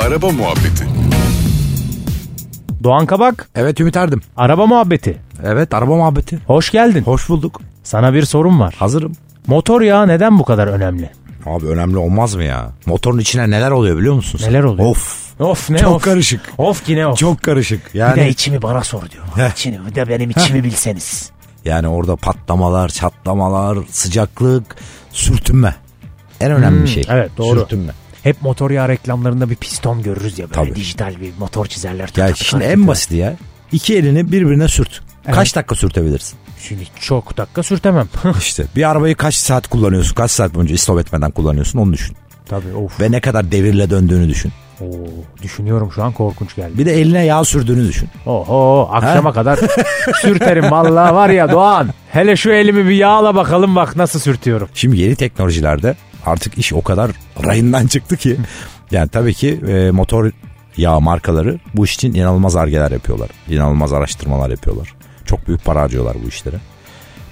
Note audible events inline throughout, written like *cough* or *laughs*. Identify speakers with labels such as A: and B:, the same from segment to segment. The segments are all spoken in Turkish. A: Araba muhabbeti.
B: Doğan Kabak,
C: Evet Ümit Erdim.
B: araba muhabbeti.
C: Evet araba muhabbeti.
B: Hoş geldin.
C: Hoş bulduk.
B: Sana bir sorum var.
C: Hazırım.
B: Motor yağı neden bu kadar önemli?
C: Abi önemli olmaz mı ya? Motorun içine neler oluyor biliyor musun sen?
B: Neler oluyor?
C: Of.
B: Of ne
C: Çok
B: of.
C: karışık.
B: Of ki ne of.
C: Çok karışık.
B: Bir de
C: Yani
B: içimi bana sor diyor.
C: Heh.
B: İçini, bir de benim içimi bilseniz.
C: yani orada patlamalar, çatlamalar, sıcaklık, sürtünme. En önemli şey.
B: evet, doğru.
C: Sürtünme.
B: Hep motor yağı reklamlarında bir piston görürüz ya böyle
C: Tabii.
B: dijital bir motor çizerler.
C: Ya
B: Tut, tut,
C: şimdi
B: tut,
C: en
B: tut.
C: basiti ya. İki elini birbirine sürt. Kaç dakika sürtebilirsin?
B: Şimdi çok dakika sürtemem.
C: işte bir arabayı kaç saat kullanıyorsun? Kaç saat boyunca istop etmeden kullanıyorsun onu düşün.
B: *laughs* Tabii of.
C: Ve ne kadar devirle döndüğünü düşün.
B: Oo, düşünüyorum şu an korkunç geldi.
C: Bir de eline yağ sürdüğünü düşün.
B: Oho akşama kadar sürterim vallahi var ya Doğan. Hele şu elimi bir yağla bakalım bak nasıl sürtüyorum.
C: Şimdi yeni teknolojilerde artık iş o kadar rayından çıktı ki. Yani tabii ki e, motor yağ markaları bu iş için inanılmaz argeler yapıyorlar. İnanılmaz araştırmalar yapıyorlar. Çok büyük para harcıyorlar bu işlere.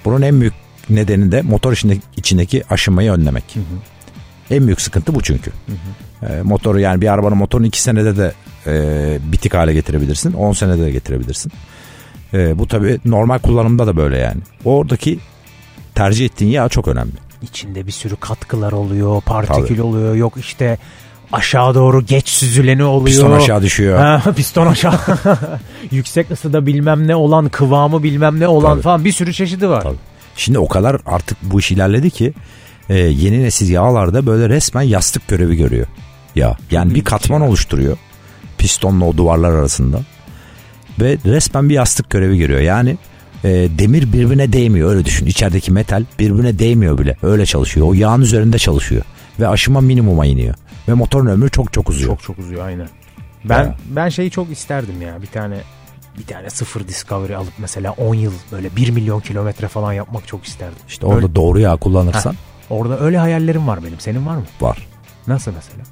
C: Bunun en büyük nedeni de motor içindeki, içindeki aşınmayı önlemek. En büyük sıkıntı bu çünkü. E, motoru yani bir arabanın motorunu 2 senede de e, bitik hale getirebilirsin. 10 senede de getirebilirsin. E, bu tabii normal kullanımda da böyle yani. Oradaki tercih ettiğin yağ çok önemli.
B: İçinde bir sürü katkılar oluyor, partikül oluyor, yok işte aşağı doğru geç süzüleni oluyor.
C: Piston aşağı düşüyor.
B: Ha, *laughs* piston aşağı. Yüksek ısıda bilmem ne olan, kıvamı bilmem ne olan
C: Tabii.
B: falan bir sürü çeşidi var.
C: Tabii. Şimdi o kadar artık bu iş ilerledi ki e, yeni nesil yağlarda böyle resmen yastık görevi görüyor. Ya yani bir katman oluşturuyor pistonla o duvarlar arasında ve resmen bir yastık görevi görüyor. Yani e, demir birbirine değmiyor öyle düşün. İçerideki metal birbirine değmiyor bile. Öyle çalışıyor. O yağın üzerinde çalışıyor ve aşıma minimuma iniyor ve motorun ömrü çok çok uzuyor.
B: Çok çok uzuyor aynen. Ben
C: Ya.
B: ben şeyi çok isterdim ya bir tane bir tane sıfır Discovery alıp mesela 10 yıl böyle 1 milyon kilometre falan yapmak çok isterdim.
C: İşte orada doğru yağ kullanırsan
B: Orada öyle hayallerim var benim. Senin var mı?
C: var.
B: Nasıl mesela?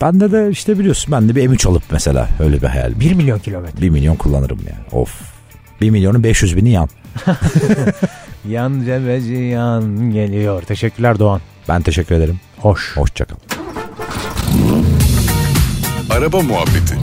C: Bende de işte biliyorsun ben de bir M3 alıp mesela öyle bir hayal
B: 1 milyon kilometre.
C: 1 milyon kullanırım yani. Of. 1 milyonu 500 bini yan.
B: Yan cebeci yan geliyor. Teşekkürler Doğan.
C: Ben teşekkür ederim.
B: Hoş.
C: Hoşçakal.
A: Araba muhabbeti.